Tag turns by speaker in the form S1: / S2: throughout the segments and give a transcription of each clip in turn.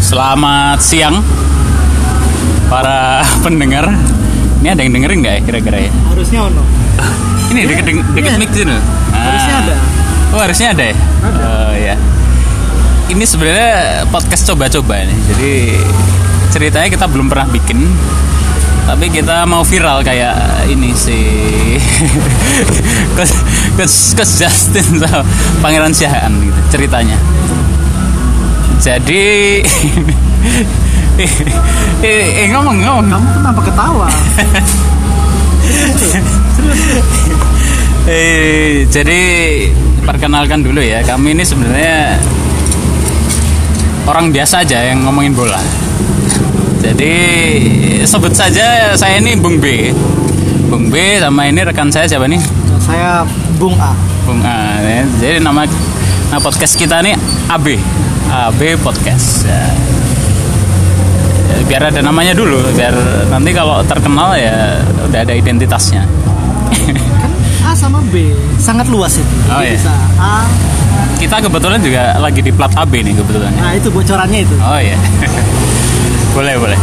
S1: Selamat siang para pendengar. Ini ada yang dengerin nggak ya kira-kira ya?
S2: harusnya ono
S1: Ini deket deket mic sini. loh. Ah.
S2: Iya. harusnya ada
S1: Oh harusnya ada ya. Oh ya. Ini sebenarnya podcast coba-coba nih. Jadi ceritanya kita belum pernah bikin. Tapi kita mau viral kayak ini si Coach, Coach, Coach Justin sama Pangeran Siahaan gitu ceritanya. Jadi eh, eh, eh, ngomong ngomong
S2: kamu kenapa ketawa
S1: Eh, jadi perkenalkan dulu ya, kami ini sebenarnya orang biasa aja yang ngomongin bola. Jadi sebut saja saya ini Bung B. Bung B sama ini rekan saya siapa nih?
S2: saya Bung A
S1: Bung A. ya. Jadi nama nah podcast kita nih AB. AB Podcast. Ya. Ya, Biar ada namanya dulu, biar nanti kalau terkenal ya udah ada identitasnya.
S2: kan A sama B sangat luas itu
S1: Oh, iya.
S2: Jadi bisa A
S1: Kita kebetulan juga lagi di plat AB nih kebetulan.
S2: nah itu bocorannya itu
S1: Oh iya. boleh, boleh.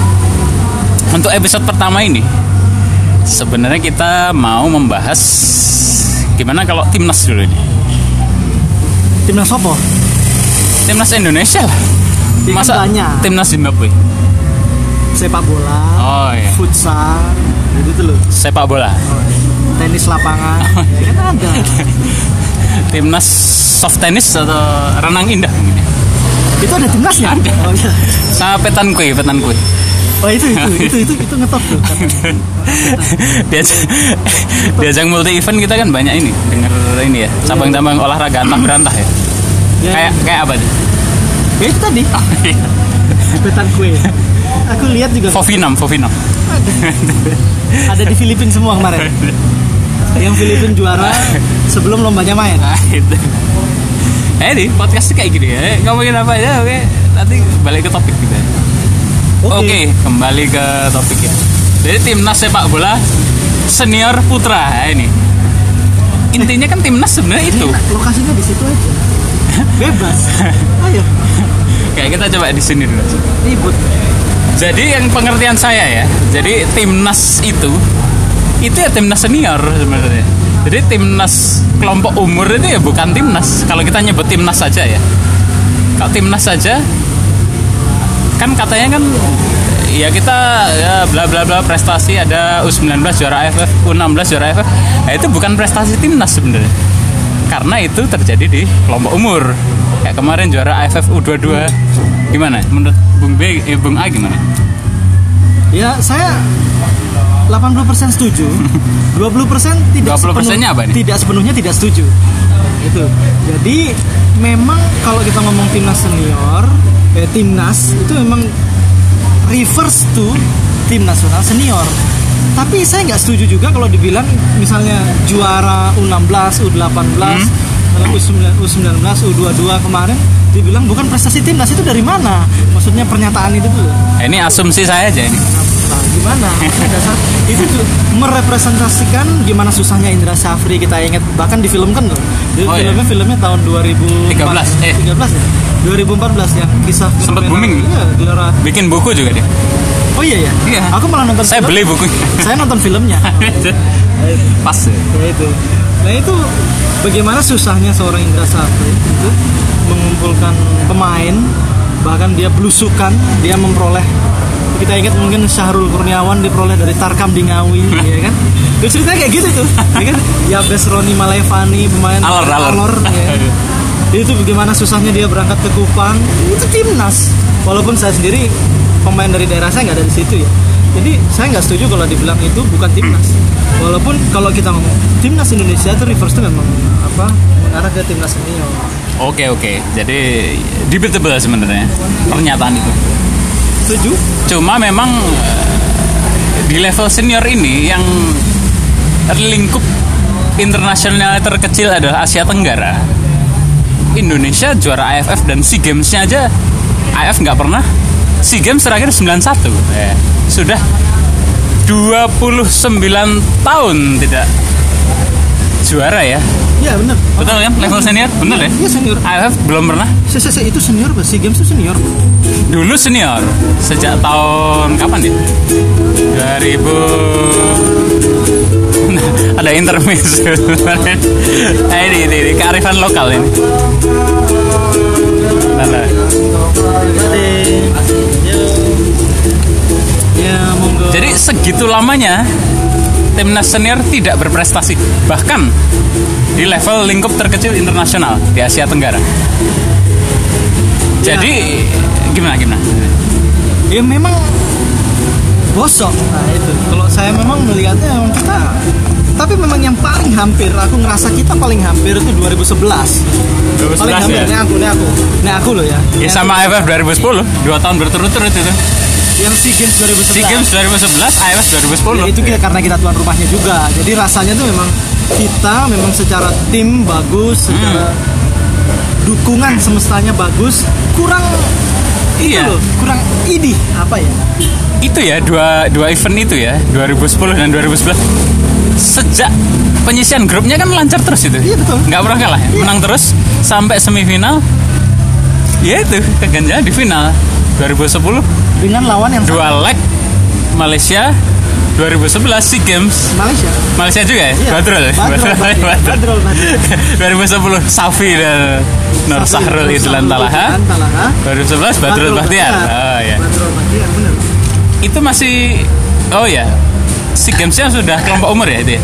S1: Untuk episode pertama ini sebenarnya kita mau membahas gimana kalau timnas dulu ini.
S2: timnas Sopo
S1: Timnas Indonesia lah.
S2: Iya kan banyak.
S1: timnas Zimbabwe.
S2: sepak bola
S1: Oh iya.
S2: futsal gitu tuh loh
S1: Sepak bola.
S2: tenis lapangan
S1: Oh, iya.
S2: ya kan ada
S1: Timnas soft tennis atau renang indah mungkin.
S2: itu ada timnasnya
S1: Ada.
S2: oh, iya.
S1: Sama petan kue, petan kue.
S2: oh itu itu itu itu itu ngetop tuh
S1: Diaj- di ajang multi event kita kan banyak ini dengar ini ya cabang-cabang olahraga antah berantah ya
S2: Ya.
S1: kayak Oh, iya. kayak apa tuh
S2: ya itu tadi petan kue aku lihat juga
S1: Fovinam Fovinam
S2: ada di Filipina semua kemarin yang Filipina juara sebelum lombanya main
S1: Nah, itu. Eh, di podcast tuh kayak gini ya. Ngomongin apa aja, oke. Nanti balik ke topik kita. Oke, kembali ke topik ya. Jadi timnas sepak bola senior putra Nah, ini. Intinya kan timnas sebenarnya itu.
S2: Enak, Nah, lokasinya di situ aja. Bebas. Ayo,
S1: Kayak kita coba di sini dulu.
S2: ribut.
S1: Jadi yang pengertian saya ya, jadi timnas itu itu ya timnas senior sebenarnya. Jadi timnas kelompok umur itu ya bukan timnas. Kalau kita nyebut timnas saja ya. Kalau timnas saja kan katanya kan ya kita ya bla bla bla prestasi ada U19 juara AFF, U16 juara AFF. Nah, itu bukan prestasi timnas sebenarnya. Karena itu terjadi di kelompok umur. Kayak kemarin juara AFF U22. Gimana? Menurut Bung B, eh, Bung A gimana?
S2: Ya, saya 80% setuju. 20% tidak
S1: 20%-nya apa nih?
S2: Tidak sepenuhnya tidak setuju. Itu. Jadi memang kalau kita ngomong timnas senior, eh, timnas itu memang reverse to tim nasional senior. Tapi saya nggak setuju juga kalau dibilang misalnya juara U16, U18, U9, U19, U22 kemarin dibilang bukan prestasi timnas itu dari mana? Maksudnya pernyataan itu tuh.
S1: Nah, ini asumsi saya aja ini.
S2: Nah, gimana? Dasar itu tuh merepresentasikan gimana susahnya Indra Safri kita ingat bahkan difilmkan loh. Di
S1: Oh, iya.
S2: filmnya filmnya tahun 2013
S1: 13, eh.
S2: 13 ya. 2014 yang kisah
S1: Sempet
S2: fenomena-
S1: booming.
S2: ya, Iya, gelora.
S1: Bikin buku juga dia.
S2: Oh iya ya.
S1: Iya.
S2: Aku malah nonton
S1: Saya
S2: film.
S1: beli bukunya.
S2: Saya nonton filmnya.
S1: Pas. ya.
S2: Ya itu. Nah itu bagaimana susahnya seorang Indra Safri itu mengumpulkan pemain bahkan dia belusukan dia memperoleh kita ingat mungkin Syahrul Kurniawan diperoleh dari Tarkam di Ngawi ya kan itu ceritanya kayak gitu tuh ya kan ya Besroni Malevani pemain
S1: Alor, alor.
S2: ya kan? itu bagaimana susahnya dia berangkat ke Kupang itu timnas walaupun saya sendiri pemain dari daerah saya nggak ada di situ ya jadi saya nggak setuju kalau dibilang itu bukan timnas walaupun kalau kita ngomong timnas Indonesia itu reverse itu memang apa mengarah ke timnas senior
S1: Oke oke. Jadi debatable sebenarnya pernyataan itu.
S2: setuju
S1: Cuma memang eh, di level senior ini yang lingkup internasional terkecil adalah Asia Tenggara. Indonesia juara AFF dan SEA Games-nya aja AFF nggak pernah. SEA Games terakhir 91. Eh, sudah 29 tahun tidak juara ya
S2: ya benar
S1: betul kan level senior bener ya
S2: Iya senior.
S1: AFF belum pernah
S2: Se -se -se itu senior, Pak. SEA Games itu senior.
S1: dulu senior sejak tahun kapan ya 2000 ada intermezzo kemarin eh, ini, ini, ini kearifan lokal ini Nah, Bentar, bentar.
S2: Ya monggo.
S1: jadi segitu lamanya timnas senior tidak berprestasi bahkan di level lingkup terkecil internasional di Asia Tenggara jadi gimana gimana
S2: ya memang bosok nah itu kalau saya memang melihatnya memang kita tapi memang yang paling hampir aku ngerasa kita paling hampir itu 2011 paling
S1: 2011
S2: hampir
S1: ya?
S2: ini aku ini aku ini aku loh ya
S1: ya
S2: Ini
S1: sama AFF 2010 dua tahun berturut-turut itu
S2: aku. yang SEA Games 2011
S1: SEA Games 2011 AFF
S2: Ya,
S1: 2010
S2: itu kita- karena kita tuan rumahnya juga jadi rasanya tuh memang kita memang secara
S1: Hmm.
S2: tim bagus secara dukungan semestanya bagus kurang itu
S1: Iya.
S2: loh, kurang idih apa ya
S1: itu ya dua dua event itu ya 2010 dan 2011 sejak penyisian grupnya kan lancar terus itu
S2: Iya, betul.
S1: nggak pernah kalah ya? menang terus sampai semifinal ya itu keganjalan di final 2010
S2: dengan lawan yang
S1: dua leg Malaysia 2011 SEA Games
S2: Malaysia
S1: Malaysia juga ya?
S2: Iya.
S1: Badrul ya?
S2: Badrul, Badrul, Badrul,
S1: Badrul. 2010 Safi dan Nur
S2: Safi,
S1: Sahrul
S2: Nur
S1: Idlan
S2: Sahrul
S1: Talaha
S2: Idlan Talaha.
S1: 2011 Badrul Bahtiar oh ya
S2: Badrul Bahtiar bener.
S1: itu masih oh ya si gamesnya sudah kelompok umur ya itu ya?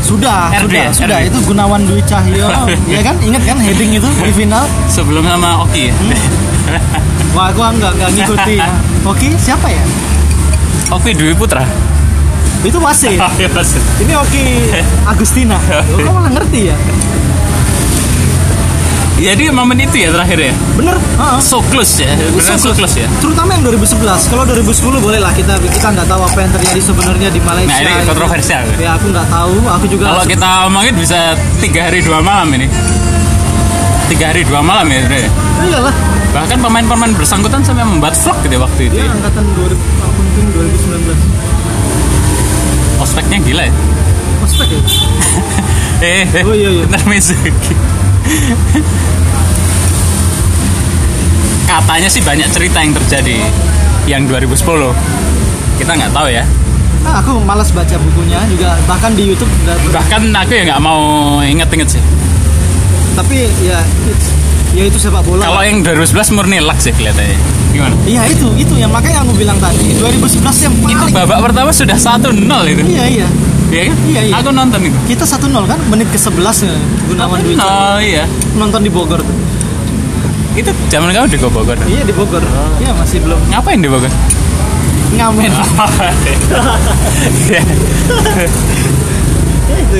S2: Sudah,
S1: RD,
S2: sudah,
S1: RD.
S2: sudah. Itu Gunawan Dwi Cahyo, ya kan? Ingat kan heading itu di final?
S1: sebelum sama Oki ya
S2: Wah, aku nggak nggak ngikuti. Oke, siapa ya?
S1: Oki Dwi Putra
S2: Itu wasit.
S1: oh, iya, pasti.
S2: Ini Oki Agustina. Loh, Kamu malah ngerti ya?
S1: jadi momen itu ya terakhir ya
S2: Bener? Heeh.
S1: so close ya benar so close ya
S2: Terutama yang 2011. Kalau 2010 boleh lah kita kita nggak tahu apa yang terjadi sebenarnya di Malaysia.
S1: nah iya. ini
S2: gitu.
S1: kontroversial
S2: Ya aku nggak tahu. Aku juga.
S1: kalau kita omongin bisa tiga hari dua malam ini tiga hari dua malam ya Dre.
S2: iyalah.
S1: bahkan pemain-pemain bersangkutan sampai membuat vlog gitu ya waktu itu
S2: Dia
S1: ya.
S2: angkatan 2000, aku mungkin 2019.
S1: ospeknya gila ya
S2: Ospek ya?
S1: eh, eh
S2: Oh, iya, iya.
S1: bentar Mizuki. katanya sih banyak cerita yang terjadi yang 2010 kita nggak tahu ya
S2: Nah, aku malas baca bukunya juga bahkan di YouTube udah ber-
S1: bahkan aku ya nggak mau inget-inget sih
S2: tapi ya it's- ya itu sepak bola.
S1: kalau yang 2011 murni luck sih kelihatannya gimana
S2: Iya itu itu yang makanya aku bilang tadi 2011 yang
S1: itu
S2: paling.
S1: babak pertama sudah 1-0 itu
S2: Iya iya.
S1: iya kan
S2: Iya, iya.
S1: aku nonton itu
S2: Kita 1-0 kan menit ke-11 ya, Gunawan Dwi Cahyo.
S1: oh iya
S2: nonton di Bogor tuh.
S1: itu zaman kamu di Bogor
S2: Iya di Bogor.
S1: Ah.
S2: Iya masih belum
S1: ngapain di Bogor
S2: ngamen.
S1: Ah. Iya.
S2: Ya, itu.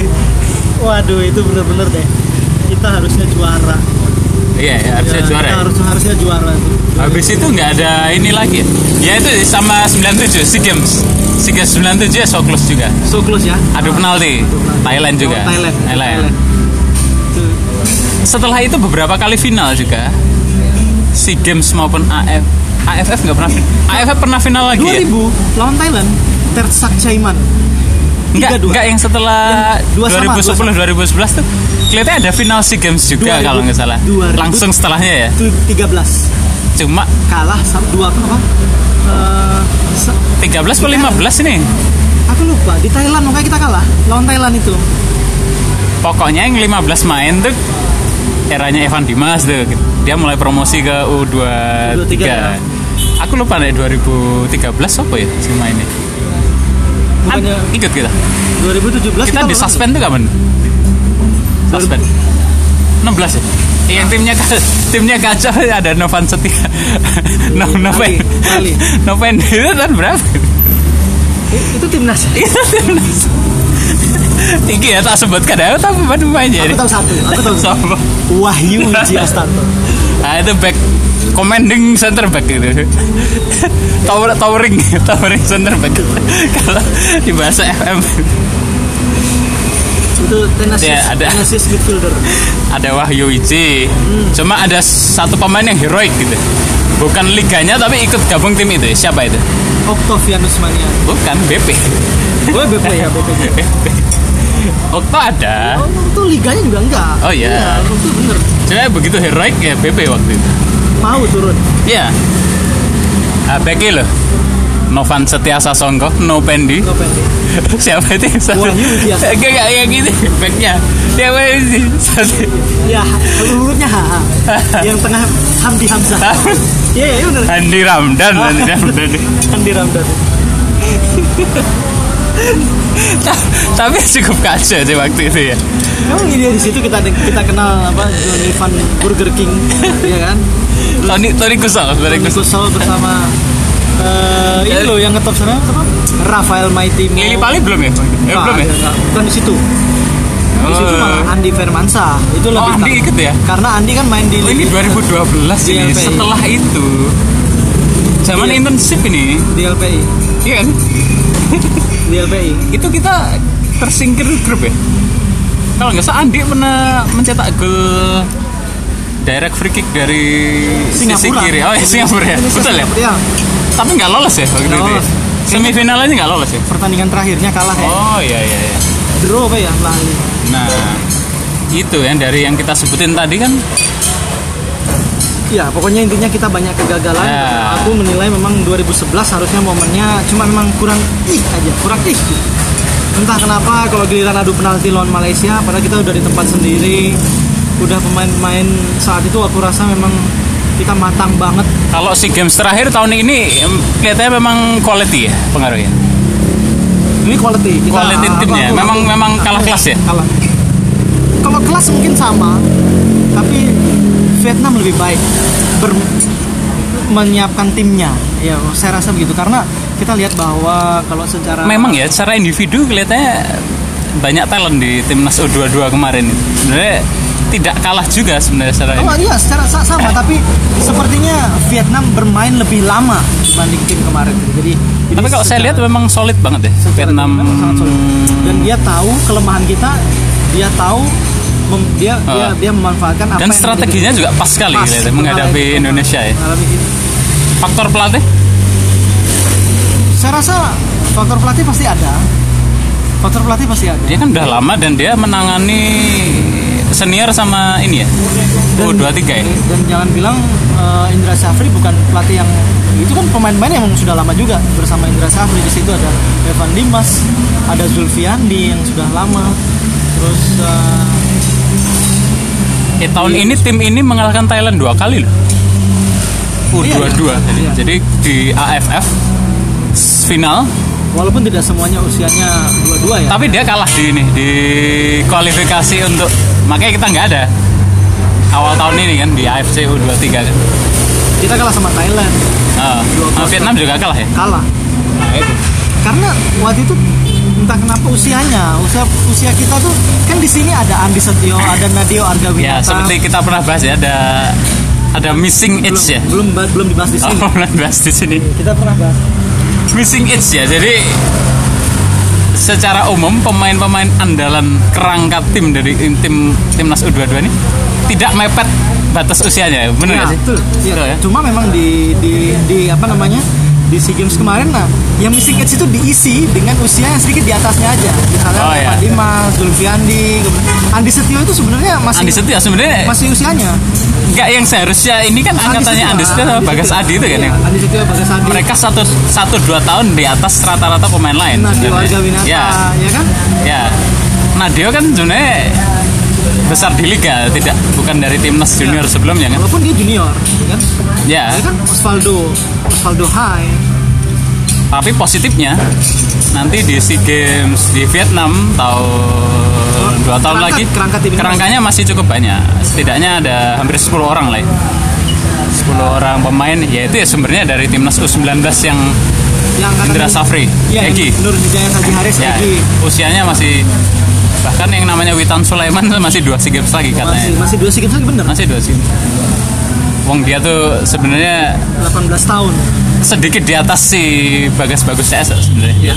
S2: Waduh itu bener-bener deh. Kita harusnya juara.
S1: Iya, ya, harusnya
S2: Ya,
S1: juara.
S2: Kita
S1: ya.
S2: harus harusnya juara itu.
S1: Habis itu nggak ada ini lagi. Ya itu sama 97 SEA Games. SEA Games 97 ya so close juga.
S2: So close ya.
S1: Adu penalti. Thailand juga.
S2: Oh, Thailand.
S1: Thailand.
S2: Itu.
S1: Setelah itu beberapa kali final juga. SEA Games maupun AF AFF nggak pernah AFF pernah final lagi ya?
S2: 2000 lawan Thailand Tersak Chaiman
S1: Nggak,
S2: 32.
S1: nggak yang setelah
S2: Yang dua sama, dua
S1: 2010 2011 tuh kelihatannya ada final SEA Games juga
S2: 2000,
S1: kalau nggak salah.
S2: 2000.
S1: Langsung setelahnya ya.
S2: itu 13
S1: Cuma
S2: kalah sama dua apa Eh, se-
S1: 13 atau 15 ini.
S2: aku lupa di Thailand makanya kita kalah lawan Thailand itu
S1: pokoknya yang 15 main tuh eranya Evan Dimas tuh dia mulai promosi ke U23
S2: U23, ya.
S1: aku lupa deh 2013 apa ya si mainnya Kan
S2: bukannya
S1: ikut kita
S2: 2017
S1: kita di
S2: lawan-
S1: suspend tuh kapan suspend 16 ya Eh, yang timnya ka- timnya kacau ya, ada Novan Setia no Noven
S2: Bali.
S1: Noven itu kan berapa
S2: Eh, itu timnas
S1: itu timnas Iki ya tak sebutkan aku tapi pemainnya
S2: aku
S1: ini.
S2: tahu satu aku tahu satu
S1: Siapa?
S2: Wahyu Wijiastanto
S1: Nah, itu back commanding center back gitu. Tower towering, towering center back. Kalau di bahasa FM
S2: itu tenasis
S1: Ya, ada.
S2: tenasis midfielder
S1: ada Wahyu Iji. Cuma ada satu pemain yang heroik gitu. Bukan liganya tapi ikut gabung tim itu. Siapa itu?
S2: Octavianus Mania
S1: Bukan BP.
S2: gue BP ya BP
S1: BP. Okto ada.
S2: Waktu liganya juga enggak.
S1: Oh, iya.
S2: Iya, waktu bener.
S1: Sebenarnya begitu heroik ya PP waktu itu.
S2: Mau turun.
S1: Iya. ABG loh. Novan Setia Sasongko, No Pendi.
S2: Enggak pendek.
S1: Siapa itu? yang Satu.
S2: Wahyu Widiasa.
S1: Kayak kayak yang gini, backnya. Siapa itu? Satu.
S2: Ya, lurutnya H. Yang tengah Hamdi Hamzah. Iya, iya bener.
S1: Andi Ramdan, Andi Ramdan.
S2: Hamdi Ramdan.
S1: Ta- Tapi cukup kacau sih waktu itu ya.
S2: Emang dia di situ kita kita kenal apa Johnny Van Burger King, ya kan?
S1: Tony Tony Kusol, Tony
S2: Tony
S1: Kusol.
S2: Kusol bersama eh, ini loh yang ngetop sana apa? Rafael Maitimo.
S1: Lili Pali belum ya? Eh,
S2: Nggak,
S1: belum ya?
S2: nggak, nggak. Bukan di situ. Di situ
S1: Oh.
S2: malah Andi Firmansyah. Itu
S1: Oh,
S2: lebih
S1: Andi ikut ya?
S2: Karena Andi kan main di
S1: Oh, ini 2012 ini.
S2: Iya, Pak.
S1: Setelah itu zaman
S2: Iya.
S1: internship ini,
S2: di LPI,
S1: iya kan?
S2: di LPI.
S1: Itu kita tersingkir grup ya. Kalau nggak salah Andi pernah mencetak gol direct free kick dari sisi
S2: Singapura.
S1: kiri. Oh, iya, Singapura ya.
S2: Indonesia,
S1: Betul ya?
S2: Singapura. Iya,
S1: Tapi nggak lolos ya waktu
S2: Nggak
S1: itu. ya?
S2: lolos. Eh.
S1: Semifinal aja nggak lolos ya.
S2: pertandingan terakhirnya kalah ya.
S1: Oh iya iya. iya.
S2: Draw apa ya? Lali.
S1: Nah itu yang dari yang kita sebutin tadi kan
S2: Ya, pokoknya intinya kita banyak kegagalan.
S1: Ya.
S2: Aku menilai memang 2011 harusnya momennya cuma memang kurang ih aja, kurang ih. gitu. Entah kenapa kalau giliran adu penalti lawan Malaysia, padahal kita udah di tempat sendiri, udah pemain-pemain saat itu aku rasa memang kita matang banget.
S1: kalau si games terakhir tahun ini em, kelihatannya memang quality ya pengaruhnya.
S2: Ini quality. Kita,
S1: Quality
S2: aku-
S1: timnya.
S2: aku-
S1: Memang-
S2: aku-
S1: memang kalah kelas ya?
S2: Kalah. Kalau kelas mungkin sama, tapi Vietnam lebih baik ber- menyiapkan timnya. Ya, saya rasa begitu karena kita lihat bahwa kalau secara
S1: Memang ya secara individu kelihatannya banyak talent di timnas U22 kemarin. Sebenarnya tidak kalah juga sebenarnya secara
S2: Oh iya, secara
S1: Eh.
S2: sa- sama tapi sepertinya Vietnam bermain lebih lama dibanding tim kemarin. Jadi
S1: Tapi
S2: jadi
S1: kalau saya
S2: secara-
S1: lihat memang solid banget ya
S2: secara
S1: Vietnam.
S2: tim memang sangat solid. Dan dia tahu kelemahan kita, dia tahu mem- dia dia
S1: Ah.
S2: dia memanfaatkan apa
S1: Dan
S2: yang
S1: strateginya juga pas sekali
S2: Pas
S1: kelihatannya
S2: mengalami-
S1: menghadapi Indonesia ya.
S2: mengalami itu.
S1: Faktor pelatih?
S2: Saya rasa faktor pelatih pasti ada. Faktor pelatih pasti ada.
S1: dia kan udah lama dan dia menangani senior sama ini ya oh dua tiga ya
S2: Dan jangan bilang eh, Indra Syafri bukan pelatih yang itu kan pemain-pemain yang sudah lama juga bersama Indra Syafri di situ ada Evan Dimas, ada Zulfiandi yang sudah lama. Terus eh,
S1: Eh, tahun
S2: Iya.
S1: ini tim ini mengalahkan Thailand dua kali loh U22
S2: Iya, iya.
S1: jadi,
S2: Iya.
S1: jadi di AFF s- final
S2: walaupun tidak semuanya usianya dua-dua ya.
S1: tapi dia kalah di ini di kualifikasi untuk makanya kita nggak ada awal tahun ini kan di AFC U23 kan
S2: Kita kalah sama Thailand,
S1: Ah, sama Vietnam juga kalah ya
S2: kalah.
S1: Nah, itu.
S2: karena waktu itu entah kenapa usianya usia usia kita tuh kan di sini ada Andi Setio ada
S1: ya
S2: Nadio Argawinata
S1: seperti kita pernah bahas ya ada ada missing
S2: belum,
S1: edge ya
S2: belum ba- belum dibahas di
S1: Oh,
S2: sini
S1: pernah bahas di sini
S2: kita pernah bahas
S1: missing edge ya jadi secara umum pemain-pemain andalan kerangka tim dari tim timnas U22 ini tidak mepet batas usianya ya? bener
S2: Nah,
S1: nggak sih
S2: betul. Iya.
S1: Betul ya?
S2: cuma memang di, di di apa namanya di Sea Games kemarin nah yang missing edge itu diisi dengan usia yang sedikit di atasnya aja misalnya
S1: Oh,
S2: Pak
S1: iya.
S2: Dimas Zulfiandi kemudian Andi Setio itu sebenarnya masih
S1: Andi ya? Setia sebenarnya
S2: masih usianya
S1: nggak yang seharusnya ini kan angkatannya Andi Setia sama Bagas Adi itu kan
S2: Iya,
S1: ya
S2: Andi Setio Bagas Adi
S1: mereka satu satu dua tahun di atas rata-rata pemain lain
S2: Nadio
S1: sebenarnya.
S2: Argawinata
S1: ya
S2: ya kan
S1: ya Nadio kan sebenarnya besar di liga tidak bukan dari timnas junior sebelumnya kan
S2: walaupun dia junior ya kan
S1: ya
S2: Ya kan Osvaldo, Osvaldo Hai.
S1: Tapi positifnya nanti di SEA Games di Vietnam tahun dua tahun
S2: Kerangka-
S1: lagi
S2: kerangka tim ini
S1: kerangkanya masih cukup banyak. Setidaknya ada hampir 10 orang lah. Ya. 10 orang pemain yaitu ya sumbernya dari timnas U19 yang
S2: Yang kata
S1: Indra Safri,
S2: Ya,
S1: Egi.
S2: Nur Hidayat Haji Haris
S1: Ya,
S2: Egi.
S1: usianya masih bahkan yang namanya Witan Sulaiman tuh masih dua SEA Games lagi
S2: Masih,
S1: katanya.
S2: masih dua sikit lagi bener.
S1: Masih dua SEA Games. Wong dia tuh sebenarnya
S2: 18 tahun.
S1: sedikit di atas si Bagas Bagus CS sebenarnya.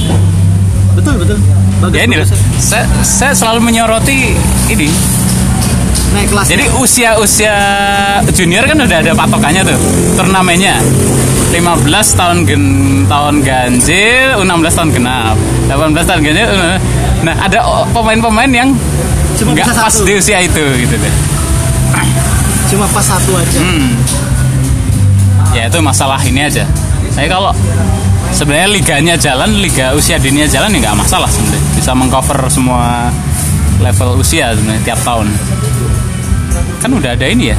S2: Betul betul. Bagus.
S1: Ya ini loh,
S2: bagus.
S1: saya, saya selalu menyoroti ini.
S2: Naik kelas.
S1: Jadi usia-usia junior kan udah ada patokannya tuh turnamennya. 15 tahun gen, tahun ganjil, 16 tahun genap, 18 tahun ganjil. eh, Nah, ada o- pemain-pemain yang
S2: Cuma
S1: nggak
S2: bisa
S1: pas
S2: satu.
S1: di usia itu gitu deh.
S2: Cuma pas satu aja.
S1: Hmm. Ya itu masalah ini aja. Saya kalau sebenarnya liganya jalan, liga usia dininya jalan ya nggak masalah sebenarnya. Bisa mengcover semua level usia sebenarnya tiap tahun. Kan udah ada ini ya.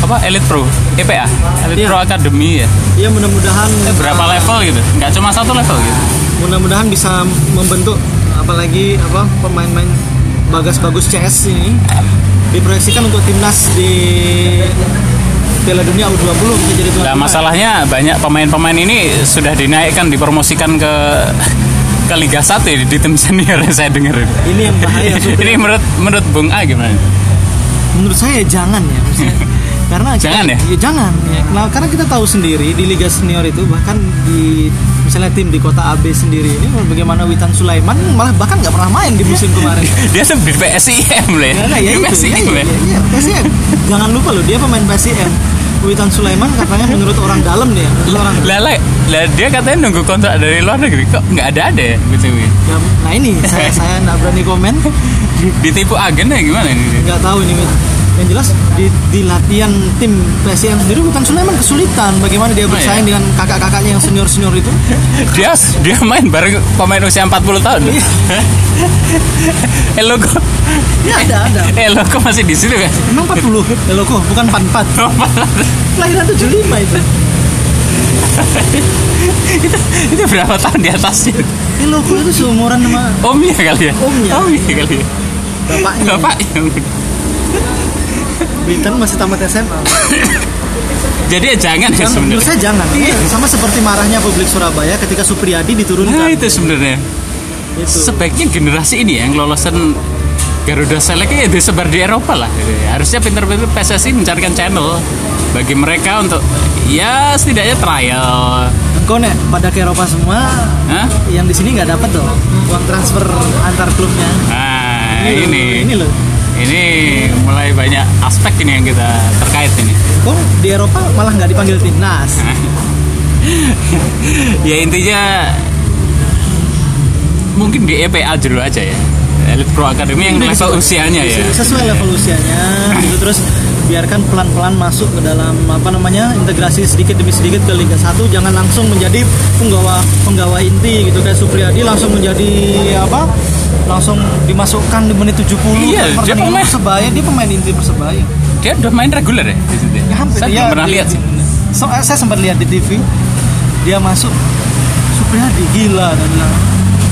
S1: Apa Elite Pro, EPA, Elite
S2: Iya.
S1: Pro Academy ya.
S2: Ya mudah-mudahan
S1: Berapa
S2: uh,
S1: level gitu? Nggak cuma satu level gitu.
S2: Mudah-mudahan bisa membentuk apalagi apa pemain-pemain bagas-bagus CS ini diproyeksikan untuk timnas di Piala Dunia U20 untuk jadi tuan
S1: Nah,
S2: rumah.
S1: masalahnya banyak pemain-pemain ini sudah dinaikkan, dipromosikan ke ke Liga 1 ya, di tim senior yang saya dengar.
S2: Ini yang bahaya. Supir.
S1: ini menurut menurut Bung A gimana?
S2: menurut saya jangan ya maksudnya. karena kita-
S1: Jangan ya?
S2: jangan ya. Nah, karena kita tahu sendiri di liga senior itu bahkan di misalnya tim di kota AB sendiri ini bagaimana Witan Sulaiman malah bahkan nggak pernah main di musim kemarin
S1: Dia tuh di PSIM loh ya.
S2: karena
S1: Di
S2: ya itu
S1: PSIM
S2: ya,
S1: loh ya.
S2: ya, ya, PSM. jangan lupa loh dia pemain PSM Witan Sulaiman katanya menurut orang dalam nih ya, menurut orang
S1: Lah, lah, lah, dia katanya nunggu kontrak dari luar negeri kok nggak ada ada ya gitu. ya?
S2: Ya, nah ini saya saya nggak berani komen
S1: Ditipu agen ya gimana ini?
S2: nggak tahu ini Wit. yang jelas di, di latihan tim PSM sendiri Witan Sulaiman kesulitan bagaimana
S1: Oh,
S2: dia bersaing dengan kakak-kakaknya yang senior senior itu
S1: Dia dia main bareng pemain usia 40 tahun.
S2: Iya.
S1: eh lo kok
S2: Ya ada ada.
S1: eh lo kok masih di situ kan?
S2: Emang 40? Ya loh kok bukan 44. Kelahiran 75 itu.
S1: itu, itu berapa tahun di atasnya?
S2: Ya loh kok itu seumuran sama
S1: Omnya kali ya?
S2: Omnya.
S1: kali
S2: Iya.
S1: ya?
S2: bapaknya.
S1: Bapaknya.
S2: Bintan masih tamat SMA.
S1: Jadi ya jangan ya
S2: Jangan, Kan menurut
S1: Iya, sebenarnya.
S2: saya jangan. Sama seperti marahnya publik Surabaya ketika Supriyadi
S1: Nah
S2: diturunkan. Gitu.
S1: itu sebenarnya.
S2: Itu.
S1: Sebaiknya generasi ini ya, yang lolosan Garuda Select ya disebar di Eropa lah. gitu ya. Harusnya pinter-pinter PSSI mencarikan channel bagi mereka untuk ya setidaknya trial.
S2: Engkau nek pada ke Eropa semua
S1: Hah?
S2: yang di sini nggak dapat dong uang transfer antar klubnya.
S1: Nah
S2: loh,
S1: ini
S2: Ini loh.
S1: ini mulai banyak aspek ini yang kita terkait ini.
S2: Kok di Eropa malah nggak dipanggil timnas.
S1: ya intinya mungkin di EPA dulu aja ya Elite Pro Academy yang
S2: Udah
S1: level
S2: disesuai-
S1: usianya ya
S2: disesuai- sesuai level usianya gitu terus biarkan pelan-pelan masuk ke dalam apa namanya integrasi sedikit demi sedikit ke Liga 1 jangan langsung menjadi penggawa penggawa inti gitu kayak Supriyadi langsung menjadi apa langsung dimasukkan di menit 70
S1: Iya,
S2: ke
S1: dia
S2: pertandingan
S1: pemain.
S2: persebaya dia pemain inti persebaya
S1: dia udah main reguler ya di situ ya?
S2: ya, hampir
S1: saya
S2: dia-
S1: belum pernah
S2: dia-
S1: lihat sih
S2: so, eh, saya sempat lihat di TV dia masuk Supriyadi gila dan bilang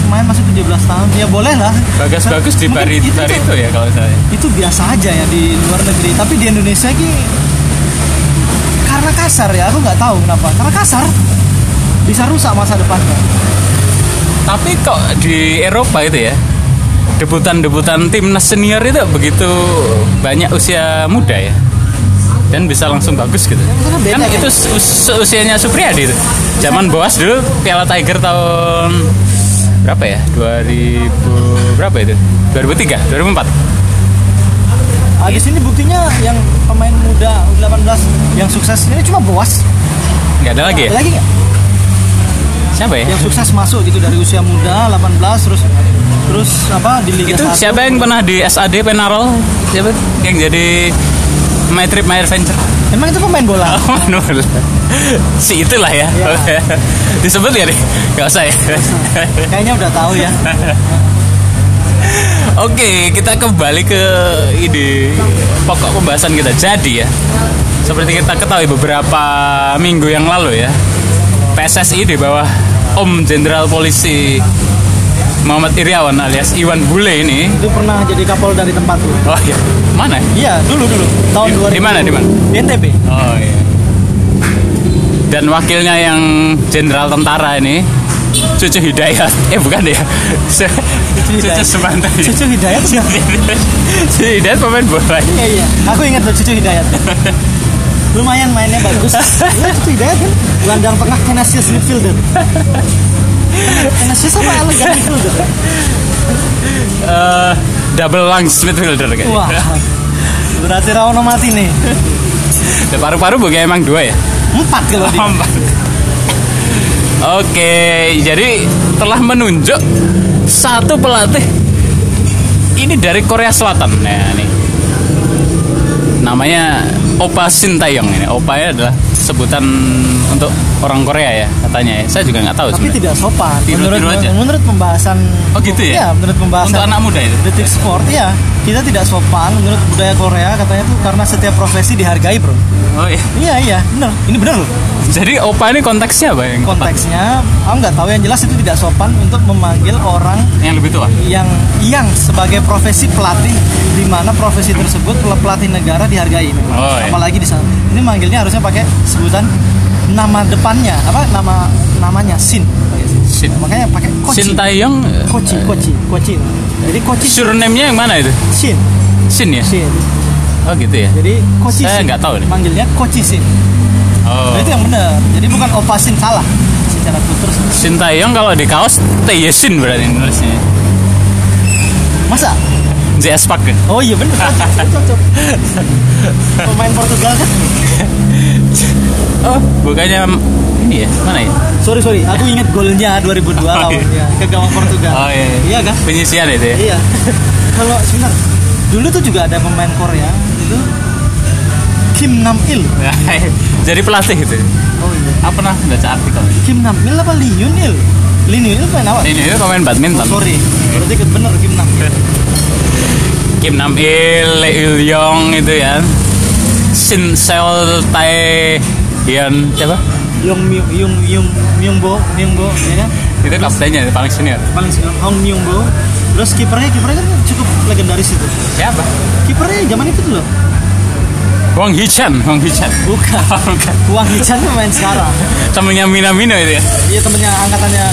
S2: main masuk 17 tahun ya boleh lah
S1: bagus-bagus di
S2: Mungkin gitu,
S1: Bari
S2: itu tuh-
S1: Barito ya kalau saya
S2: itu biasa aja ya di luar negeri tapi di Indonesia ini karena kasar ya aku nggak tahu kenapa karena kasar bisa rusak masa depannya
S1: tapi kok di Eropa itu ya debutan-debutan timnas senior itu begitu banyak usia muda ya dan bisa langsung bagus gitu
S2: karena beda
S1: kan
S2: kan?
S1: itu se- usianya Supriyadi itu zaman Boas dulu Piala Tiger tahun berapa ya 2000 berapa itu 2003 2004
S2: Ah,
S1: iya.
S2: di sini buktinya yang pemain muda 18 yang sukses ini cuma boas
S1: nggak ada lagi ya
S2: lagi nggak?
S1: siapa ya
S2: yang sukses masuk gitu dari usia muda 18 terus terus apa di Liga
S1: itu
S2: 1
S1: siapa yang pernah di SAD Penarol siapa yang jadi My Trip My Adventure
S2: emang itu pemain bola
S1: Oh, Manuel. Si itulah ya.
S2: Iya.
S1: Disebut ya nih? Gak usah ya.
S2: kayaknya udah tahu ya
S1: Oke, kita kembali ke ide pokok pembahasan kita. Jadi ya, seperti kita ketahui beberapa minggu yang lalu ya, PSSI di bawah Om Jenderal Polisi Muhammad Iriawan alias Iwan Bule ini.
S2: itu pernah jadi kapol dari tempat tuh
S1: Oh ya, mana?
S2: iya dulu dulu tahun
S1: Di-
S2: 2000
S1: di mana, di mana?
S2: di NTB
S1: Oh iya. Dan wakilnya yang jenderal tentara ini Cucu Hidayat. Eh bukan ya. Se- Cucu
S2: Hidayat.
S1: Semanta.
S2: Cucu Hidayat siapa?
S1: Cucu Hidayat pemain bola.
S2: Iya iya, aku ingat tuh Cucu Hidayat. Lumayan mainnya bagus. Iya Cucu Hidayat kan gelandang tengah Kenasius midfielder. Kenasius sama elegan midfielder.
S1: Eh, double lungs midfielder kayaknya.
S2: Wah. Berarti Rawono mati nih.
S1: Dan Paru-paru bukan emang dua ya.
S2: Empat kalau dia.
S1: Oke, jadi telah menunjuk satu pelatih ini dari Korea Selatan ya nih namanya Opa Sintayong ini Opa ya adalah sebutan untuk orang Korea ya katanya ya saya juga nggak tahu
S2: tapi
S1: sebenarnya.
S2: tidak sopan
S1: Tiru-tiru
S2: menurut
S1: aja.
S2: menurut pembahasan
S1: Oh, gitu ya?
S2: Iya, menurut pembahasan
S1: untuk anak muda itu
S2: detik sport ya kita tidak sopan menurut budaya Korea katanya tuh karena setiap profesi dihargai bro
S1: oh iya
S2: iya iya bener ini bener loh
S1: jadi Opa ini konteksnya apa yang
S2: konteksnya aku nggak tahu yang jelas itu tidak sopan untuk memanggil orang
S1: yang lebih tua
S2: yang yang sebagai profesi pelatih di mana profesi tersebut pel- pelatih negara dihargai memang.
S1: Oh, iya.
S2: apalagi di sana ini manggilnya harusnya pakai sebutan nama depannya apa nama namanya sin Pakai
S1: Shin.
S2: makanya pakai koci
S1: Sintayong eh,
S2: koci koci koci jadi koci
S1: surname-nya yang mana itu
S2: sin
S1: Shin ya
S2: sin
S1: oh gitu ya
S2: jadi koci
S1: Saya
S2: Shin.
S1: nggak tahu nih.
S2: manggilnya koci sin
S1: oh
S2: Nah, itu yang benar jadi bukan opasin salah secara kultur
S1: Sintayong kalau di kaos Taeyesin berarti nulisnya
S2: masa
S1: JS Park ya?
S2: oh iya benar cocok, cocok. pemain Portugal kan
S1: oh bukannya ini ya mana ya
S2: Sorry sorry, aku ingat golnya 2002 lawan
S1: iya.
S2: ya, ke gawang Portugal.
S1: Oh, iya, iya.
S2: kan?
S1: penyisian itu ya
S2: Iya. Kalau sebentar, dulu tuh juga ada pemain Korea itu Kim Nam Il.
S1: jadi pelatih itu ya?
S2: Oh iya.
S1: apa pernah baca artikel
S2: Kim Nam Il apa Lee Yun Il? Lee Yun Il pemain apa?
S1: ini itu pemain badminton
S2: Oh, sorry, berarti ikut bener Kim Nam Il.
S1: Kim Nam Il, Lee Il Yong itu ya Shin Seol Tae Hyun siapa
S2: Yong Myung Yong Yong Myung Bo Myung Bo, ya kan?
S1: itu kaptennya paling senior
S2: Paling senior Hong Myung Bo. Terus kipernya kipernya kan cukup legendaris itu.
S1: siapa
S2: Kipernya zaman itu loh.
S1: Wong Hee-chan Wong Hee-chan
S2: Bukan.
S1: bukan
S2: Wang Hee-chan pemain sekarang.
S1: temennya Minamino itu ya
S2: Iya temennya angkatannya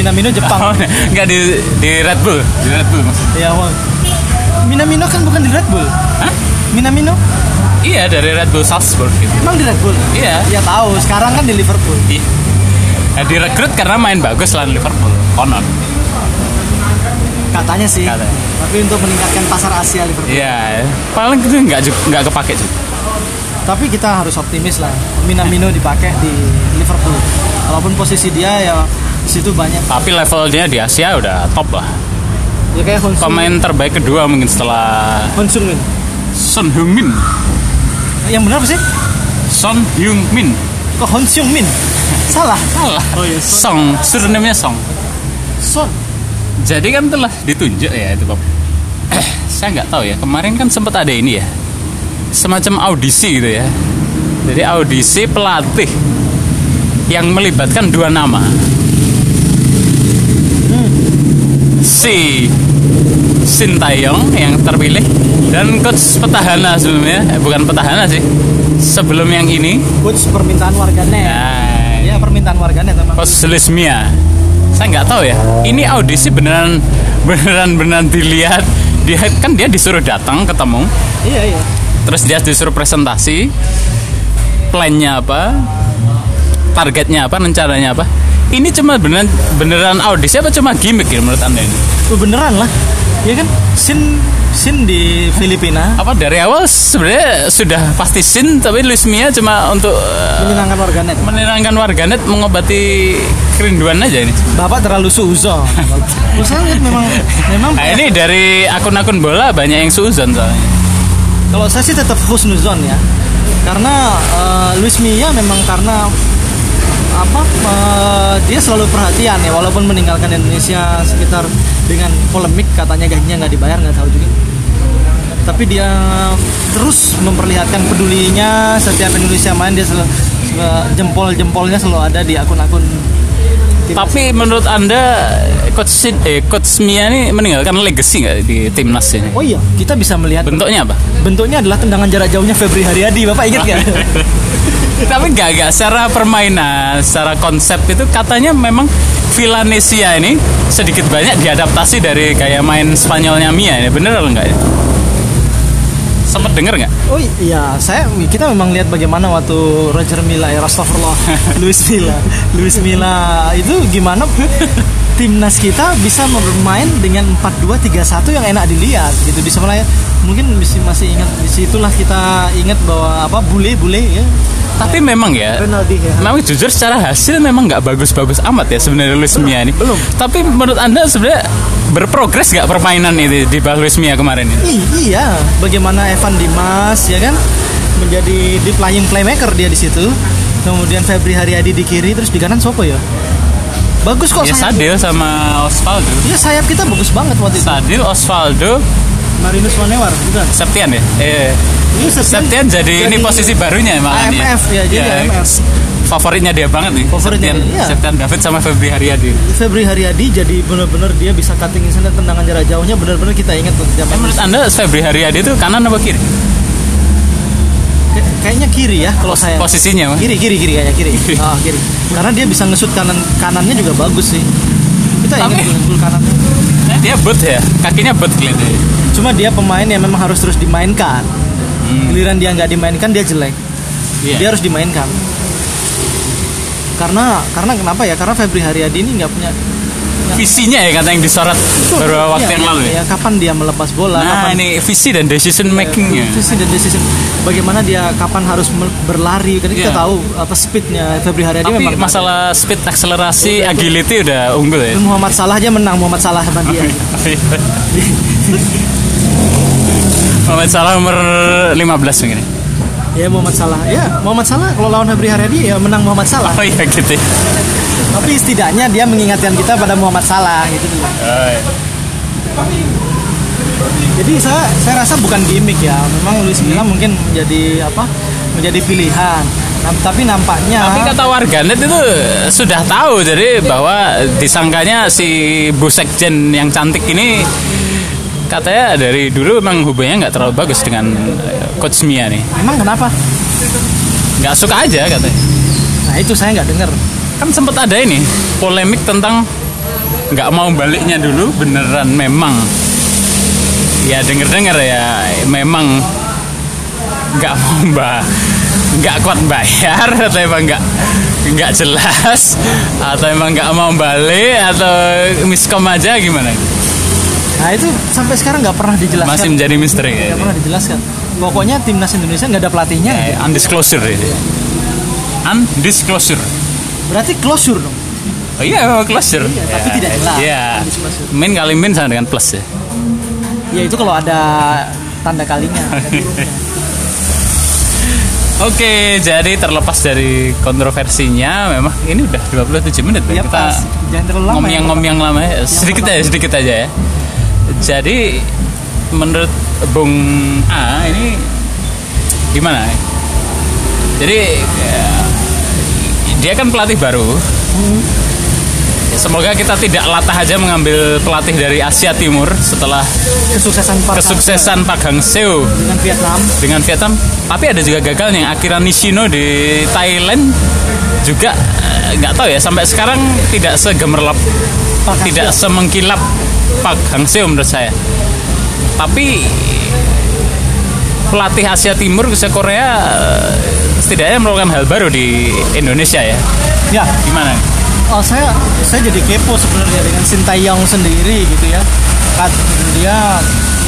S2: Minamino Jepang.
S1: nggak di di Red Bull di Red Bull maksudnya
S2: Ya, Won. Minamino kan bukan di Red Bull.
S1: Hah?
S2: Minamino
S1: iya dari Red Bull Salzburg gitu
S2: emang di Red Bull.
S1: iya
S2: Ya tahu, sekarang kan di Liverpool.
S1: Iya. Nah, direkrut karena main bagus lawan Liverpool. Konon.
S2: Katanya sih.
S1: Katanya.
S2: Tapi untuk meningkatkan pasar Asia Liverpool.
S1: Iya. Paling itu nggak ju- nggak kepake juga. Iya.
S2: Tapi kita harus optimis lah. Minamino dipakai di Liverpool. Walaupun posisi dia ya di situ banyak.
S1: Tapi levelnya di Asia udah top lah.
S2: Ya kayak Hon Sung-
S1: Pemain terbaik kedua mungkin setelah
S2: Hon Sung Min.
S1: Son Heung-min.
S2: Yang benar apa sih?
S1: Son Heung-min.
S2: Kok Hon Sung Min? Salah.
S1: Salah.
S2: Oh, iya.
S1: Song. Surname-nya Song.
S2: Son.
S1: Jadi kan telah ditunjuk ya itu Bob. Eh, saya nggak tahu ya. Kemarin kan sempat ada ini ya. Semacam audisi gitu ya. Jadi audisi pelatih yang melibatkan dua nama. Si Sintayong yang terpilih dan coach petahana sebelumnya, Eh, bukan petahana sih. Sebelum yang ini,
S2: Coach permintaan warganet.
S1: nah,
S2: Ya permintaan warganet memang.
S1: Pos Lesmia. Saya nggak tahu ya. Ini audisi beneran beneran beneran dilihat. Dia kan dia disuruh datang ketemu,
S2: Iya iya.
S1: terus dia disuruh presentasi plannya apa, targetnya apa, rencananya apa. Ini cuma beneran beneran audisi apa cuma gimmick ya menurut anda ini?
S2: Oh, beneran lah. Ya kan? Sin Sin di Filipina
S1: Apa dari awal sebenarnya sudah pasti sin tapi Lesmia cuma untuk eh,
S2: menyenangkan warganet.
S1: menerangkan warganet mengobati kerinduan aja ini.
S2: Bapak terlalu suuzon. Menurut saya memang memang
S1: Nah, ini dari akun-akun bola banyak yang suzon soalnya.
S2: kalau saya sih tetap husnuzon ya. Karena eh, Luis Mia memang karena apa eh, dia selalu perhatian ya walaupun meninggalkan Indonesia sekitar dengan polemik katanya gajinya nggak dibayar nggak tahu juga. Tapi dia terus memperlihatkan pedulinya setiap Indonesia main dia selalu eh, jempol-jempolnya selalu ada di akun-akun timnas.
S1: Tapi menurut anda coach Sid, eh, coach Mia ini meninggalkan legacy nggak di timnas ini?
S2: Oh iya, kita bisa melihat
S1: Bentuknya apa?
S2: bentuknya adalah tendangan jarak jauhnya Febri Haryadi bapak ingat nggak
S1: Tapi nggak nggak secara permainan, secara konsep itu katanya memang Villanesia ini sedikit banyak diadaptasi dari gaya main Spanyolnya Mia ini bener atau enggak ya? Sempet denger nggak?
S2: oh iya saya kita memang lihat bagaimana waktu Roger Milla ya Rastafurlah Luis Milla Luis Milla itu gimana timnas kita bisa bermain dengan 4-2-3-1 yang enak dilihat gitu bisa mulai mungkin masih masih ingat disitulah kita ingat bahwa apa bule bule ya
S1: tapi memang ya
S2: Ronaldo ya.
S1: memang jujur secara hasil memang nggak bagus-bagus amat ya sebenarnya Luis Mia ini
S2: belum.
S1: tapi menurut anda sebenarnya berprogres nggak permainan ini di bawah Luis Mia kemarin ini
S2: I- iya, bagaimana Evan Dimas ya kan menjadi deep lying playmaker dia di situ. Kemudian Febri Haryadi di kiri terus di kanan Sopo ya. Bagus kok
S1: ya
S2: sayap.
S1: Sadil sama Osvaldo
S2: Iya sayap kita bagus banget waktu itu.
S1: Sadil Osvaldo
S2: Marinus Manewar bukan.
S1: Septian
S2: Iya.
S1: ya eh
S2: Ini Septian,
S1: Septian jadi, ini posisi barunya malah nih Iya.
S2: AMF ya, jadi AMF.
S1: favoritnya dia banget nih
S2: Favoritnya
S1: Septian,
S2: dia, iya.
S1: Septian David sama Febri Haryadi Nah,
S2: Febri Haryadi jadi benar-benar dia bisa cutting inside tendangan jarak jauhnya benar-benar kita ingat tuh zaman
S1: menurut anda Febri Haryadi itu kanan apa kiri
S2: Kay- kayaknya kiri ya kalau saya
S1: posisinya Mas.
S2: kiri kiri kiri kayaknya kiri Ah, kiri karena dia bisa ngesut kanan kanannya juga bagus sih kita
S1: Tapi-
S2: ingat dengan kanannya Iya.
S1: dia but ya kakinya but kelihatannya
S2: cuma dia pemain yang memang harus terus dimainkan
S1: Hmm.
S2: giliran dia nggak dimainkan dia jelek
S1: Iya.
S2: dia harus dimainkan karena karena kenapa ya karena Febri Haryadi ini nggak punya
S1: visinya ya kata yang disorot beberapa waktu
S2: Iya,
S1: yang lalu ya.
S2: iya, kapan dia melepas bola
S1: Nah
S2: kapan
S1: ini visi dan decision makingnya.
S2: Decision dan decision bagaimana dia kapan harus mel- berlari karena kita
S1: Iya.
S2: tahu apa speednya Febri Haryadi
S1: Tapi
S2: memang Iya,
S1: masalah speed, akselerasi, agility udah unggul ya.
S2: Muhammad Salah aja menang Muhammad Salah sama dia
S1: Muhammad Salah umur 15 mungkin. ya?
S2: ya Muhammad Salah ya Muhammad Salah kalau lawan Febri Haryadi ya menang Muhammad Salah
S1: Oh iya gitu. ya.
S2: tapi setidaknya dia mengingatkan kita pada Muhammad Salah gitu dulu
S1: Oh, iya.
S2: jadi saya saya rasa bukan gimmick ya memang Luis
S1: Hmm.
S2: Milla mungkin menjadi apa menjadi pilihan Nah, tapi nampaknya
S1: Tapi kan- kata warganet itu sudah tahu jadi bahwa disangkanya si Bu Sekjen yang cantik ini katanya dari dulu memang hubungannya nggak terlalu bagus dengan eh, Coach Mia nih.
S2: emang kenapa
S1: Nggak suka aja katanya.
S2: nah itu saya nggak dengar
S1: kan sempat ada ini polemik tentang nggak mau baliknya dulu beneran memang ya denger dengar ya memang nggak mau mbak nggak kuat bayar atau emang nggak nggak jelas atau emang nggak mau balik atau miskom aja gimana
S2: nah itu sampai sekarang nggak pernah dijelaskan
S1: masih menjadi misteri ya
S2: nggak pernah dijelaskan pokoknya timnas Indonesia nggak ada pelatihnya
S1: Eh, undisclosure ini undisclosure
S2: berarti closure dong
S1: oh iya memang closure
S2: Iya, tapi
S1: Ya,
S2: tidak jelas.
S1: iya
S2: Undisclosure.
S1: min kali min sama dengan plus ya
S2: ya itu kalau ada tanda kalinya Iya,
S1: Oke, jadi terlepas dari kontroversinya, memang ini udah 27 menit ya,
S2: ya
S1: kita
S2: pas jangan terlalu lama ya.
S1: ngomong-ngomong lama ya. sedikit aja, sedikit aja ya. Jadi menurut Bung A ini gimana? Jadi ya, dia kan pelatih baru. Semoga kita tidak latah aja mengambil pelatih dari Asia Timur setelah
S2: kesuksesan Pak
S1: kesuksesan Pak Hang Seo
S2: dengan Vietnam
S1: dengan Vietnam tapi ada juga gagalnya Akira Nishino di Thailand juga eh, nggak tahu ya sampai sekarang tidak segemerlap
S2: Pak Hang
S1: tidak semengkilap Pak Hang Seo menurut saya tapi pelatih Asia Timur khususnya Korea eh, setidaknya melakukan hal baru di Indonesia ya
S2: ya
S1: gimana
S2: oh, saya saya jadi kepo sebenarnya dengan Sintayong sendiri gitu ya Kat, dia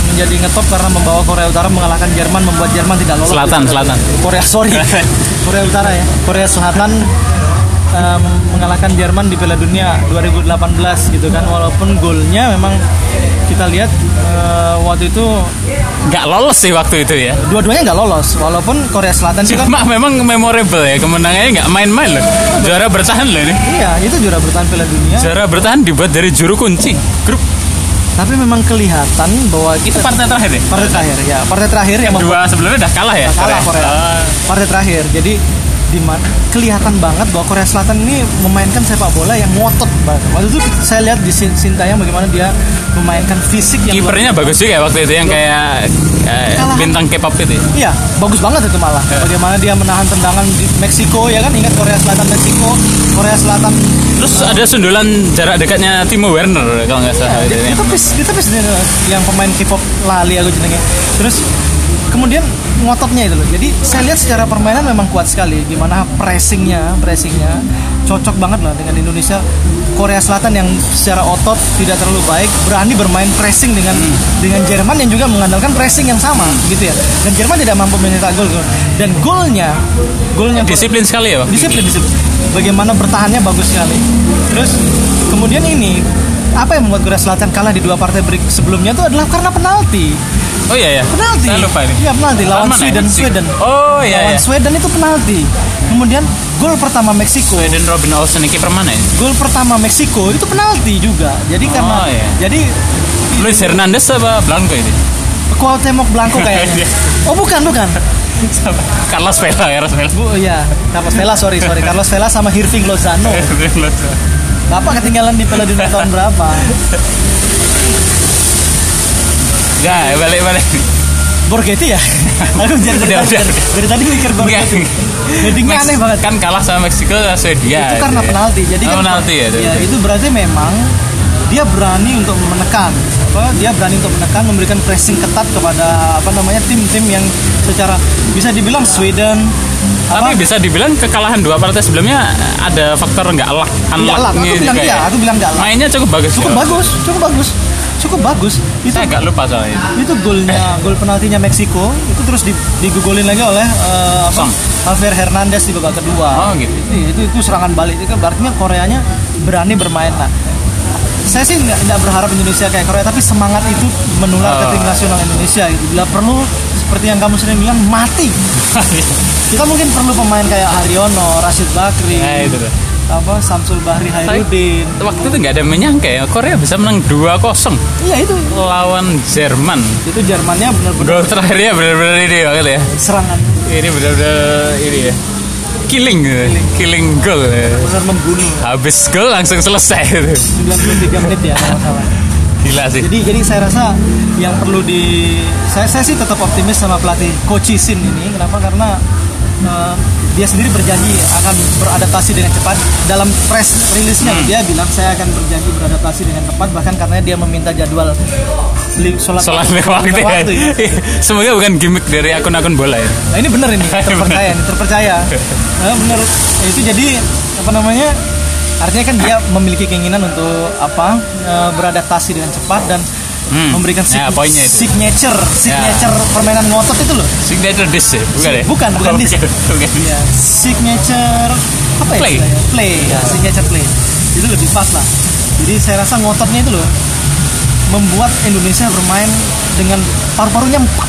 S2: menjadi ngetop karena membawa Korea Utara mengalahkan Jerman membuat Jerman tidak lolos
S1: selatan selatan
S2: Korea sorry Korea Utara ya Korea Selatan eh, mengalahkan Jerman di Piala Dunia 2018 gitu kan walaupun golnya memang kita lihat eh, waktu itu
S1: nggak lolos sih waktu itu ya
S2: dua-duanya nggak lolos walaupun Korea Selatan juga
S1: cuma memang memorable ya kemenangannya nggak main-main loh juara bertahan loh ini
S2: iya itu juara bertahan Piala Dunia
S1: juara bertahan dibuat dari juru kunci grup
S2: tapi memang kelihatan bahwa
S1: Itu partai terakhir ya?
S2: partai terakhir ya partai terakhir yang membuat
S1: Dua sebelumnya udah kalah ya?
S2: kalah Korea
S1: Ah,
S2: partai terakhir jadi di mana kelihatan banget bahwa Korea Selatan ini memainkan sepak bola yang ngotot banget waktu itu saya lihat di Sin- Sintayong bagaimana dia memainkan fisik yang luar-
S1: kipernya bagus juga ya waktu itu yang kayak eh,
S2: Kalah.
S1: bintang K-pop itu. ya.
S2: Iya, bagus banget itu malah. Bagaimana dia menahan tendangan di Meksiko ya kan? Ingat Korea Selatan Meksiko, Korea Selatan
S1: Terus ada sundulan jarak dekatnya Timo Werner kalau nggak salah. ya.
S2: ditepis, ditepis dia, yang pemain K-pop lali aku jenenge. Terus kemudian ngototnya itu loh. Jadi saya lihat secara permainan memang kuat sekali. Gimana pressingnya, pressingnya cocok banget lah dengan Indonesia. Korea Selatan yang secara otot tidak terlalu baik berani bermain pressing dengan dengan Jerman yang juga mengandalkan pressing yang sama gitu ya. Dan Jerman tidak mampu mencetak gol. gol. Dan golnya, golnya
S1: Disiplin sekali ya, Pak.
S2: disiplin disiplin bagaimana bertahannya bagus sekali terus kemudian ini apa yang membuat Korea Selatan kalah di dua partai break sebelumnya itu adalah karena penalti
S1: Oh iya ya.
S2: penalti
S1: Saya lupa ini.
S2: iya penalti lawan
S1: mana ya?
S2: Sweden
S1: Meksiko.
S2: Sweden
S1: Oh iya
S2: lawan
S1: iya.
S2: Sweden itu penalti kemudian gol pertama Meksiko
S1: Sweden Robin Olsen ini kiper mana ya?
S2: gol pertama Meksiko itu penalti juga jadi
S1: Oh,
S2: karena
S1: iya.
S2: jadi
S1: Luis Hernandez apa Blanco ini?
S2: Cuauhtémoc Blanco kayaknya
S1: Iya.
S2: oh bukan bukan
S1: Siapa? Carlos Vela, Carlos Vela.
S2: bu ya Carlos Vela sorry sorry Carlos Vela sama Hirving Lozano Bapak ketinggalan di Piala Dunia tahun berapa?
S1: Enggak, balik balik.
S2: Borghetti ya? Aku jadi dari,
S1: Udah,
S2: tadi-
S1: udah.
S2: dari, dari tadi mikir
S1: Enggak.
S2: Borghetti. Headingnya
S1: Mas-
S2: aneh banget.
S1: Kan kalah sama Meksiko sama Swedia.
S2: itu
S1: gitu
S2: karena
S1: ya.
S2: penalti. Jadi
S1: Oh,
S2: kan
S1: penalti ya. itu.
S2: Ya, itu berarti memang dia berani untuk menekan. Apa, Dia berani untuk menekan, memberikan pressing ketat kepada apa namanya tim-tim yang secara bisa dibilang Sweden
S1: Tapi
S2: apa,
S1: bisa dibilang kekalahan dua partai sebelumnya ada faktor nggak luck,
S2: nggak luck.
S1: unlucknya
S2: Aku bilang
S1: juga
S2: iya,
S1: ya.
S2: aku bilang nggak luck.
S1: Mainnya cukup bagus.
S2: Cukup
S1: ya.
S2: bagus, cukup bagus, cukup bagus. Itu
S1: Saya Eh. agak lupa soal itu.
S2: itu golnya gol penaltinya Meksiko itu terus di- digugulin lagi oleh eh, apa,
S1: Song.
S2: Javier Hernandez di babak kedua.
S1: Oh gitu.
S2: Iya, itu itu serangan balik itu kan artinya Koreanya berani bermain lah. Saya sih nggak nggak berharap Indonesia kayak Korea, tapi semangat itu menular ke tim
S1: Oh.
S2: nasional Indonesia. Gitu. Bila perlu, seperti yang kamu sering bilang, mati. Kita mungkin perlu pemain kayak Haryono, Rashid Bakri,
S1: nah itu tuh.
S2: apa Samsul Bahri Hairudin.
S1: Waktu itu nggak ada yang menyangka ya Korea bisa menang 2-0
S2: Iya itu,
S1: lawan Jerman.
S2: itu Jermannya benar-benar
S1: Gol terakhirnya benar-benar ini banget ya.
S2: serangan,
S1: Ini benar-benar ini ya. Killing, gitu. killing goal. ya.
S2: benar membunuh.
S1: Habis gol langsung selesai. gitu.
S2: 93 menit ya kalau nggak salah.
S1: Gila sih.
S2: Jadi jadi saya rasa yang perlu di saya saya sih tetap optimis sama pelatih Coach Sin ini. Kenapa? Karena eh, dia sendiri berjanji akan beradaptasi dengan cepat dalam press rilisnya dia bilang saya akan berjanji beradaptasi dengan cepat bahkan karena dia meminta jadwal li- sholat,
S1: Sholat lima waktu.
S2: lima waktu ya.
S1: ya. Semoga bukan gimmick dari akun-akun bola ya.
S2: Nah, ini bener ini terpercaya ini terpercaya. Nah, bener Ya, itu jadi apa namanya? Artinya kan dia memiliki keinginan untuk apa e, beradaptasi dengan cepat dan
S1: Hmm.
S2: memberikan sig-
S1: Ya, poinnya itu. Ya.
S2: signature signature permainan ngotot itu loh.
S1: Signature dish ya? Bukan ya?
S2: Bukan, bukan
S1: Oh,
S2: dish.
S1: bukan.
S2: Iya, signature apa ya?
S1: Play. Hmm.
S2: istilahnya? Play, ya, signature play. Itu lebih pas lah. Jadi saya rasa ngototnya itu loh membuat Indonesia bermain dengan paru-parunya empat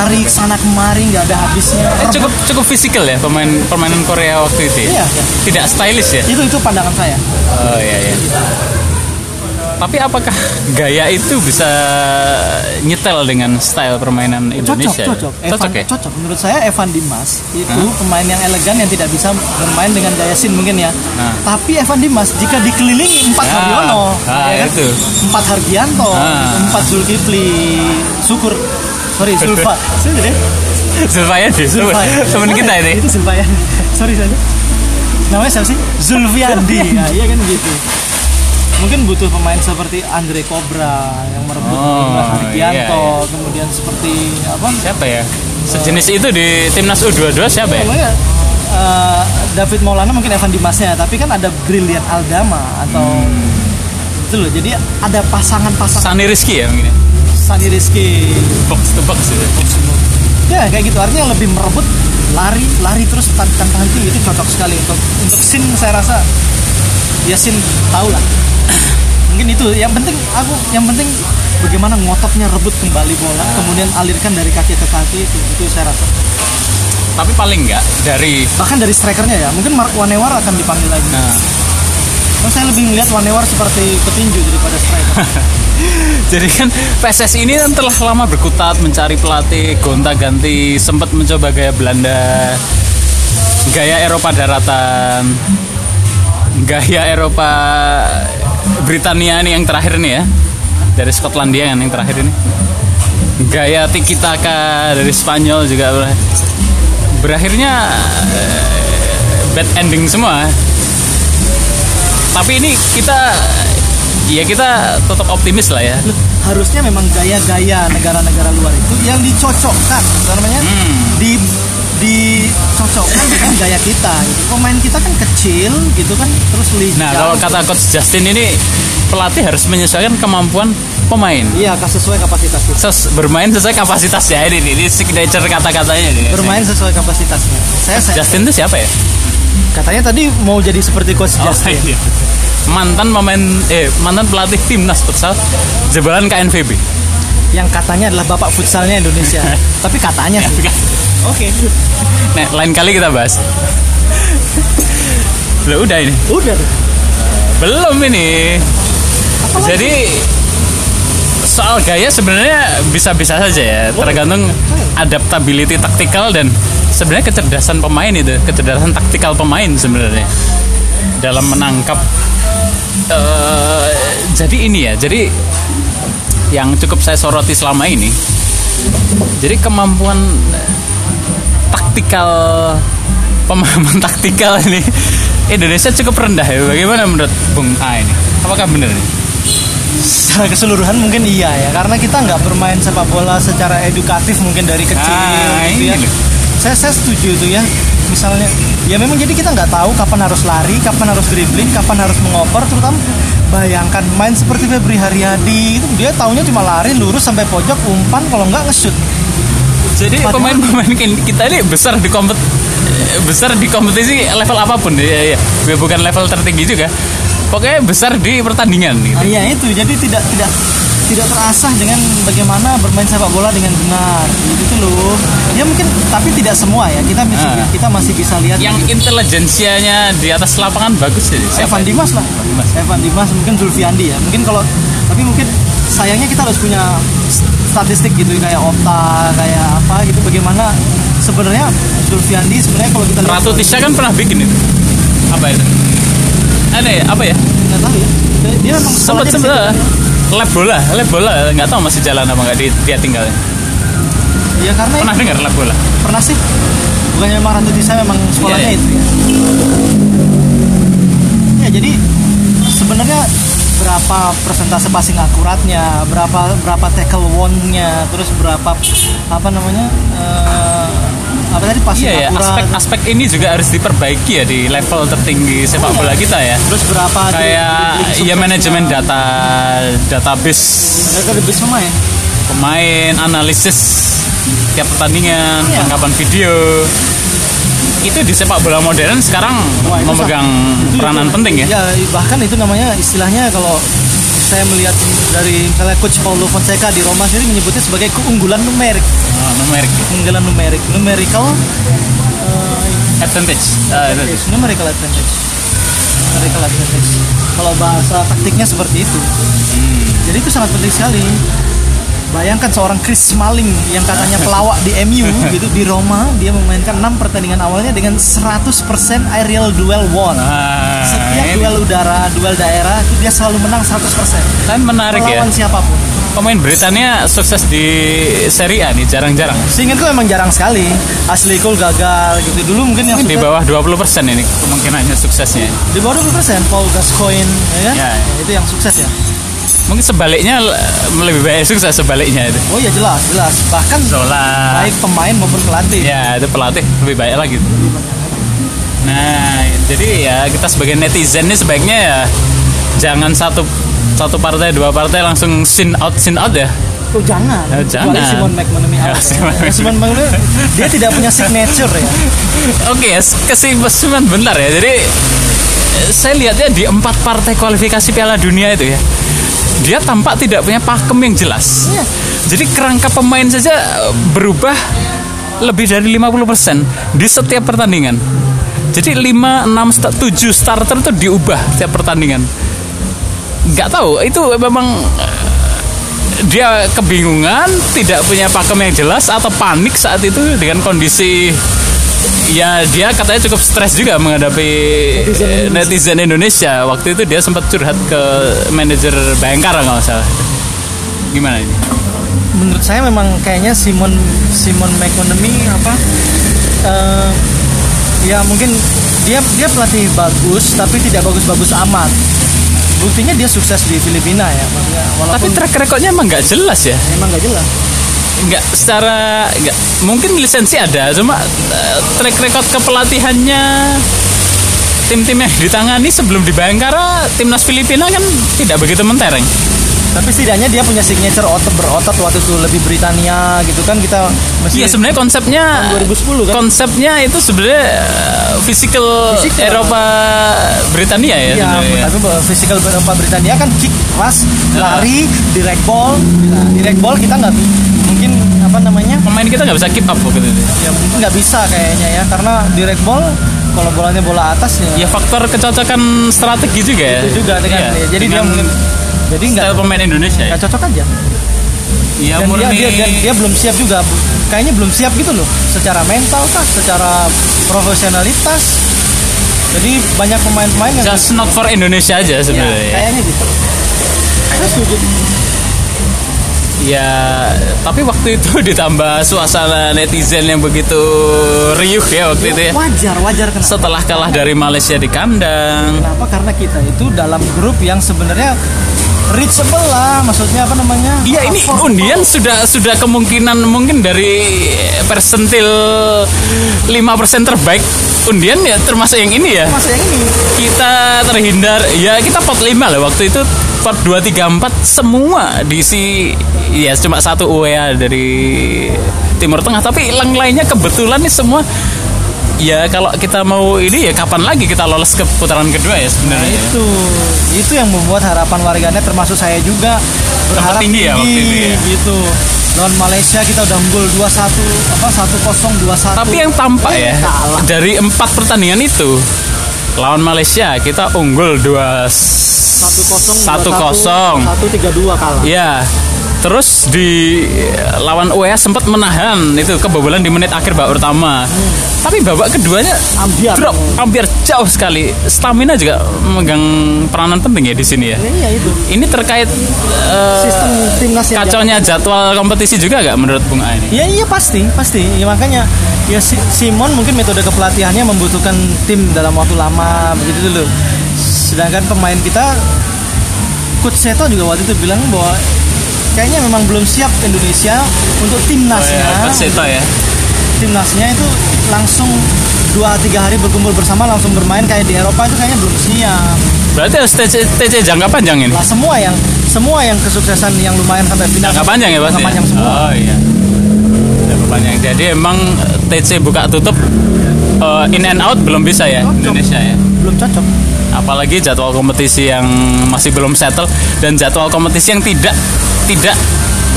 S2: lari sana kemari nggak ada habisnya
S1: Ya, Eh,
S2: Rebut
S1: cukup cukup fisikal ya pemain permainan Korea waktu itu. ya?
S2: Iya.
S1: Tidak stylish ya.
S2: itu itu pandangan saya
S1: Oh iya iya. Tapi apakah gaya itu bisa nyetel dengan style permainan
S2: cocok
S1: Indonesia?
S2: cocok Evan
S1: Cocok ya?
S2: cocok menurut saya Evan Dimas itu pemain yang elegan yang tidak bisa bermain dengan gaya sin mungkin ya
S1: Nah.
S2: tapi Evan Dimas jika dikelilingi empat
S1: Nah.
S2: Haryono ya kan?
S1: Nah, itu.
S2: empat Hargianto
S1: Nah.
S2: empat Zulkifli syukur sorry Zulfa Sorry deh
S1: Zulfayan sih, temen,
S2: Zulfa ya.
S1: temen kita
S2: Mana ya?
S1: ini.
S2: itu Zulfa ya sorry saya namanya siapa sih Zulfiandi ya iya kan gitu mungkin butuh pemain seperti Andre Cobra yang merebut
S1: Oh,
S2: Dimas Hargianto
S1: iya,
S2: kemudian seperti apa
S1: Siapa ya? Sejenis itu di timnas U22 siapa ya?
S2: Namanya, eh, David Maulana mungkin Evan Dimasnya, tapi kan ada Brilian Aldama atau
S1: Hmm.
S2: itu loh. Jadi ada pasangan-pasangan
S1: Sani Rizky ya mungkin. ya?
S2: Sani Rizky.
S1: Box to box gitu.
S2: Ya kayak gitu. Artinya yang lebih merebut lari lari terus tan- tanpa henti itu cocok sekali untuk untuk sin saya rasa ya sin tahu lah mungkin itu yang penting aku yang penting bagaimana ngototnya rebut kembali bola kemudian alirkan dari kaki ke kaki itu itu saya rasa
S1: Tapi paling enggak dari
S2: bahkan dari strikernya ya mungkin Mark Wanewar akan dipanggil lagi
S1: nah,
S2: Kan saya lebih melihat Wanewar seperti petinju daripada striker.
S1: Jadi kan PSSI ini kan telah lama berkutat mencari pelatih gonta-ganti, sempat mencoba gaya Belanda, gaya Eropa daratan, gaya Eropa Britania nih yang terakhir nih ya. Dari Skotlandia kan yang terakhir ini. Gaya tiki taka dari Spanyol juga ber- berakhirnya eh, bad ending semua. Tapi ini kita ya kita tetap optimis lah ya
S2: Loh, harusnya memang gaya-gaya negara-negara luar itu yang dicocokkan apa namanya
S1: Hmm.
S2: di dicocokkan dengan gaya kita gitu. pemain kita kan kecil gitu kan terus lincah
S1: nah kalau kata coach Justin ini pelatih harus menyesuaikan kemampuan pemain
S2: iya kas- sesuai kapasitas kita
S1: Ses- bermain sesuai kapasitasnya ini ini, ini signature kata-katanya ini.
S2: bermain sesuai kapasitasnya saya, saya
S1: Justin itu siapa ya
S2: katanya tadi mau jadi seperti coach
S1: Oh,
S2: Justin
S1: iya. mantan pemain eh mantan pelatih timnas futsal jebolan KNVB
S2: yang katanya adalah bapak futsalnya Indonesia tapi katanya sih oke
S1: nah lain kali kita bahas Loh, udah ini
S2: udah tuh.
S1: belum ini
S2: Apa lagi?
S1: Jadi soal gaya sebenarnya bisa-bisa saja ya, tergantung adaptability taktikal dan sebenarnya kecerdasan pemain itu, kecerdasan taktikal pemain sebenarnya dalam menangkap. eh, jadi ini ya, jadi yang cukup saya soroti selama ini, jadi kemampuan eh, taktikal pemahaman taktikal ini Indonesia cukup rendah ya. Bagaimana menurut Bung A ini? Apakah benar? Ini?
S2: secara keseluruhan mungkin iya ya karena kita nggak bermain sepak bola secara edukatif mungkin dari kecil
S1: Ah,
S2: gitu ya.
S1: ini loh.
S2: saya saya setuju itu ya misalnya ya memang jadi kita nggak tahu kapan harus lari kapan harus dribbling kapan harus mengoper terutama bayangkan main seperti Febri Haryadi itu dia taunya cuma lari lurus sampai pojok umpan kalau nggak ngesut
S1: Jadi
S2: Padahal-
S1: pemain-pemain kin- kita ini besar di kompet eh, besar di kompetisi level apapun ya, ya. Ya, bukan level tertinggi juga. Pokoknya besar di pertandingan gitu.
S2: nah, iya itu jadi tidak tidak tidak terasah dengan bagaimana bermain sepak bola dengan benar gitu loh ya mungkin tapi tidak semua ya kita bisa-
S1: Ah.
S2: kita masih bisa lihat
S1: Yang intelijensianya di atas lapangan bagus sih.
S2: Evan Dimas lah
S1: Dimas.
S2: Evan Dimas mungkin Zulfiandi ya mungkin kalau tapi mungkin sayangnya kita harus punya s- statistik gitu kayak Opta kayak apa gitu bagaimana sebenarnya Zulfiandi sebenarnya kalau kita lihat
S1: Ratu Tisha kan pernah bikin itu. Apa itu? Ada ya, apa ya?
S2: nggak tahu ya Dia- dia memang
S1: Sempet
S2: sekolahnya di
S1: sempet
S2: situ.
S1: lab bola, lab bola nggak tahu masih jalan apa nggak di- dia tinggalnya.
S2: ya karena
S1: Pernah dengar lab bola?
S2: pernah sih bukannya memang Ratu Tisa memang sekolahnya
S1: Iya, iya.
S2: itu ya ya jadi sebenarnya berapa persentase passing akuratnya berapa berapa tackle won-nya terus berapa apa namanya eh, apa tadi passing
S1: Iya ya,
S2: akurat
S1: aspek-aspek ini juga harus diperbaiki ya di level tertinggi sepak bola kita ya.
S2: terus berapa
S1: kayak ya manajemen data database
S2: mereka lebih semua ya
S1: Hmm, pemain analisis tiap pertandingan
S2: Iya.
S1: tangkapan video itu di sepak bola modern sekarang
S2: Wah, itu
S1: memegang
S2: Itu-
S1: peranan
S2: itu-
S1: penting ya
S2: ya bahkan itu namanya istilahnya kalau saya melihat dari misalnya coach Paulo Fonseca di Roma sendiri menyebutnya sebagai keunggulan numerik
S1: Oh, numerik
S2: keunggulan numerik numerical
S1: advantage Ah, itu.
S2: advantage numerical advantage numerical advantage kalau bahasa taktiknya seperti itu
S1: Hmm.
S2: jadi itu sangat penting sekali bayangkan seorang Chris Smalling yang katanya pelawak di MU gitu di Roma dia memainkan 6 pertandingan awalnya dengan 100% aerial duel won
S1: Ah,
S2: setiap
S1: ini.
S2: duel udara duel daerah itu dia selalu menang 100%
S1: kan menarik ya
S2: melawan siapapun
S1: pemain Britania sukses di Serie A nih jarang-jarang
S2: seingatku emang jarang sekali asli Cole gagal gitu dulu mungkin yang
S1: Mungkin di
S2: sukses-
S1: bawah 20% ini kemungkinannya suksesnya
S2: di bawah 20% Paul Gascoigne ya kan?
S1: Ya.
S2: Ya, itu yang sukses ya
S1: mungkin sebaliknya eh, lebih baik sukses sebaliknya itu
S2: Oh ya jelas jelas bahkan
S1: Zola
S2: baik pemain maupun pelatih
S1: ya itu pelatih lebih baik lagi nah jadi ya kita sebagai netizen ini sebaiknya ya jangan satu satu partai dua partai langsung sin out sin out ya
S2: Oh jangan.
S1: Ya, jangan.
S2: Kecuali Simon McManamy.
S1: Ya,
S2: out,
S1: Simon
S2: ya. Simon McManamy dia tidak punya signature ya.
S1: oke ya kesimpulan bentar ya jadi eh, saya lihatnya di empat partai kualifikasi Piala Dunia itu ya dia tampak tidak punya pakem yang jelas
S2: Iya.
S1: jadi kerangka pemain saja eh, berubah lebih dari 50% di setiap pertandingan jadi 5, 6, 7 starter itu diubah setiap pertandingan nggak tahu itu memang eh, dia kebingungan tidak punya pakem yang jelas atau panik saat itu dengan kondisi ya dia katanya cukup stres juga menghadapi
S2: Netizen
S1: eh,
S2: Indonesia.
S1: netizen Indonesia waktu itu dia sempat curhat ke manajer Bayangkara kalau nggak salah gimana ini
S2: Menurut saya memang kayaknya Simon Simon McManamy apa? eh, ya mungkin dia dia pelatih bagus tapi tidak bagus-bagus amat. buktinya dia sukses di Filipina ya maksudnya walaupun
S1: Tapi track recordnya emang nggak jelas ya.
S2: emang nggak jelas
S1: Nggak secara nggak mungkin lisensi ada, cuma eh, track record kepelatihannya tim-tim yang ditangani sebelum di Bayangkara timnas Filipina kan tidak begitu mentereng.
S2: tapi setidaknya dia punya signature otot berotot waktu itu lebih Britania gitu kan kita mesti
S1: Iya sebenarnya konsepnya
S2: 2010 kan?
S1: konsepnya itu sebenarnya eh, physical,
S2: Physical.
S1: Eropa Britania ya
S2: Iya,
S1: sebenarnya.
S2: tapi bahwa physical Eropa Britania kan kick, keras,
S1: Iya.
S2: lari, direct ball. Nah, direct ball kita nggak bi- mungkin apa namanya?
S1: Pemain kita nggak bisa keep up waktu itu.
S2: Ya mungkin nggak bisa kayaknya ya, karena direct ball kalau bolanya bola atas ya.
S1: Ya faktor kecocokan strategi juga ya.
S2: Itu juga dengan
S1: Iya,
S2: ya, jadi
S1: dengan
S2: dia mungkin jadi nggak
S1: style pemain Indonesia. Ya,
S2: nggak cocok aja.
S1: Iya,
S2: Dan dia,
S1: murni
S2: dia, dan dia belum siap juga. Bu- Kayaknya belum siap gitu loh, secara mental kah, secara profesionalitas. Jadi banyak pemain-pemain yang
S1: just not for Indonesia aja
S2: Ya,
S1: sebenarnya. Ya,
S2: kayaknya gitu. Saya setuju.
S1: Ya, tapi waktu itu ditambah suasana netizen yang begitu riuh ya waktu itu ya.
S2: Wajar, wajar kenapa?
S1: Setelah kalah dari Malaysia di kandang.
S2: Kenapa? Karena kita itu dalam grup yang sebenarnya reachable lah, maksudnya apa namanya?
S1: Iya ini
S2: Affordable.
S1: undian sudah sudah kemungkinan mungkin dari persentil 5% terbaik undian ya termasuk yang ini ya.
S2: Masa yang ini
S1: Kita terhindar ya kita pot 5 lah waktu itu pot 2 3 4 semua diisi ya cuma satu UEA dari Timur Tengah tapi yang lainnya kebetulan nih semua ya kalau kita mau ini ya kapan lagi kita lolos ke putaran kedua ya sebenarnya. ya.
S2: Nah, itu itu yang membuat harapan warganet termasuk saya juga berharap
S1: tinggi ya waktu itu ya.
S2: gitu. Lawan Malaysia kita udah unggul 2-1 apa 1-0 2-1.
S1: Tapi yang tampak ya
S2: Kalah.
S1: dari empat pertandingan itu lawan Malaysia kita unggul dua
S2: 1-0
S1: satu kosong.
S2: 1-3-2 kalah.
S1: Ya, terus di lawan UEA sempat menahan itu kebobolan di menit akhir babak pertama. Tapi babak keduanya
S2: Ambiar.
S1: drop hampir jauh sekali. Stamina juga memegang peranan penting ya di sini ya.
S2: Iya itu.
S1: Ini terkait eh,
S2: Sistem timnas yang
S1: kacaunya jadwal kompetisi juga nggak menurut Bung A ini?
S2: Ya iya pasti, pasti. Ya, makanya ya Si- Simon mungkin metode kepelatihannya membutuhkan tim dalam waktu lama begitu dulu. Sedangkan pemain kita Coach Seto juga waktu itu bilang bahwa kayaknya memang belum siap Indonesia untuk timnasnya.
S1: Seto ya.
S2: Timnasnya itu langsung 2 tiga hari berkumpul bersama langsung bermain kayak di Eropa itu kayaknya belum siap.
S1: Berarti harus TC, TC jangka panjang ini?
S2: Lah semua yang semua yang kesuksesan yang lumayan sampai final
S1: Jangka panjang ya pasti?
S2: Jangka
S1: ya?
S2: panjang semua.
S1: Oh iya Jangka panjang Jadi emang TC buka tutup eh, In and out belum bisa ya
S2: Cocok.
S1: Indonesia ya
S2: belum cocok.
S1: Apalagi jadwal kompetisi yang masih belum settle Dan jadwal kompetisi yang tidak Tidak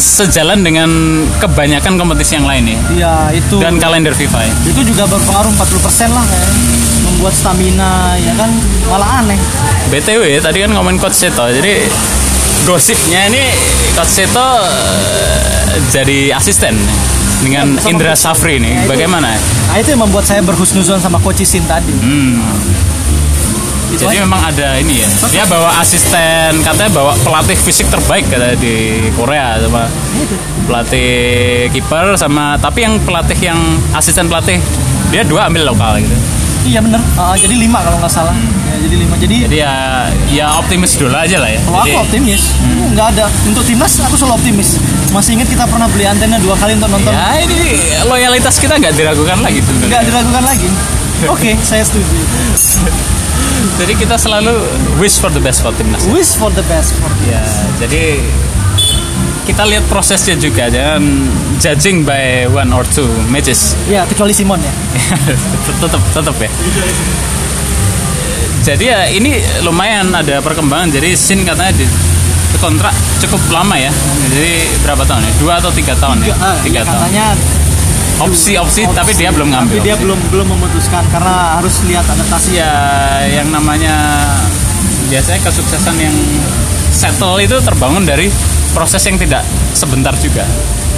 S1: sejalan dengan kebanyakan kompetisi yang lain ya
S2: Iya, itu.
S1: Dan kalender FIFA ya
S2: itu juga berpengaruh 40% lah kayak membuat stamina ya kan malah aneh
S1: BTW tadi kan ngomongin Coach Seto Jadi gosipnya ini Coach Seto eh, jadi asisten dengan
S2: Sama
S1: Indra
S2: Coach.
S1: Safri
S2: Ya,
S1: nih
S2: itu-
S1: bagaimana?
S2: nah itu yang membuat saya berhusnuzon sama Coach Isin tadi
S1: Hmm. Jadi memang ada ini ya. Dia bawa asisten, katanya bawa pelatih fisik terbaik katanya di Korea sama
S2: itu
S1: pelatih kiper sama tapi yang pelatih yang asisten pelatih dia dua ambil lokal gitu.
S2: iya bener Ah, jadi lima kalau nggak salah ya, jadi lima jadi
S1: Jadi ya ya optimis dulu aja lah ya. Jadi,
S2: kalau
S1: Hmm.
S2: aku optimis nggak ada untuk timnas aku selalu optimis masih ingat kita pernah beli antena dua kali untuk nonton
S1: ya ini loyalitas kita nggak diragukan lagi tuh.
S2: nggak diragukan lagi oke saya setuju
S1: Jadi kita selalu wish for the best for timnas.
S2: wish for the best for the
S1: Ya, jadi kita lihat prosesnya juga jangan judging by one or two matches.
S2: ya kecuali Simon ya
S1: tetap tetap ya jadi ya ini lumayan ada perkembangan jadi sin katanya di kontrak cukup lama ya jadi berapa tahun ya dua atau tiga tahun ya
S2: Ah,
S1: tiga
S2: iya,
S1: tahun
S2: katanya
S1: opsi opsi tapi dia belum
S2: tapi
S1: ngambil
S2: dia belum belum memutuskan karena harus lihat adaptasi
S1: ya yang namanya biasanya kesuksesan yang settle itu terbangun dari proses yang tidak sebentar juga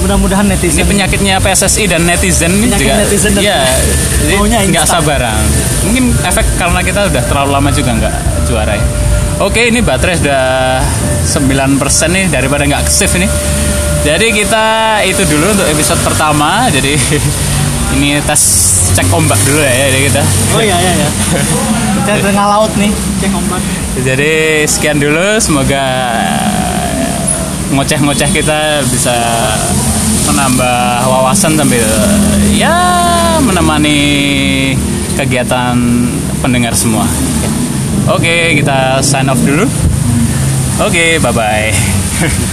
S2: mudah-mudahan netizen
S1: ini penyakitnya PSSI dan netizen ini
S2: Penyakit
S1: juga
S2: netizen dan-
S1: ya jadi
S2: Maunya
S1: nggak
S2: instan.
S1: sabaran mungkin efek karena kita udah terlalu lama juga nggak juara ya oke ini baterai sudah 9% nih daripada nggak save ini jadi kita itu dulu untuk episode pertama jadi ini tes cek ombak dulu ya dari kita.
S2: Oh iya iya iya. Kita tengah laut nih, cek ombak.
S1: Jadi sekian dulu, semoga ngoceh-ngoceh kita bisa menambah wawasan sambil ya menemani kegiatan pendengar semua. Oke, kita sign off dulu. Oke, bye-bye.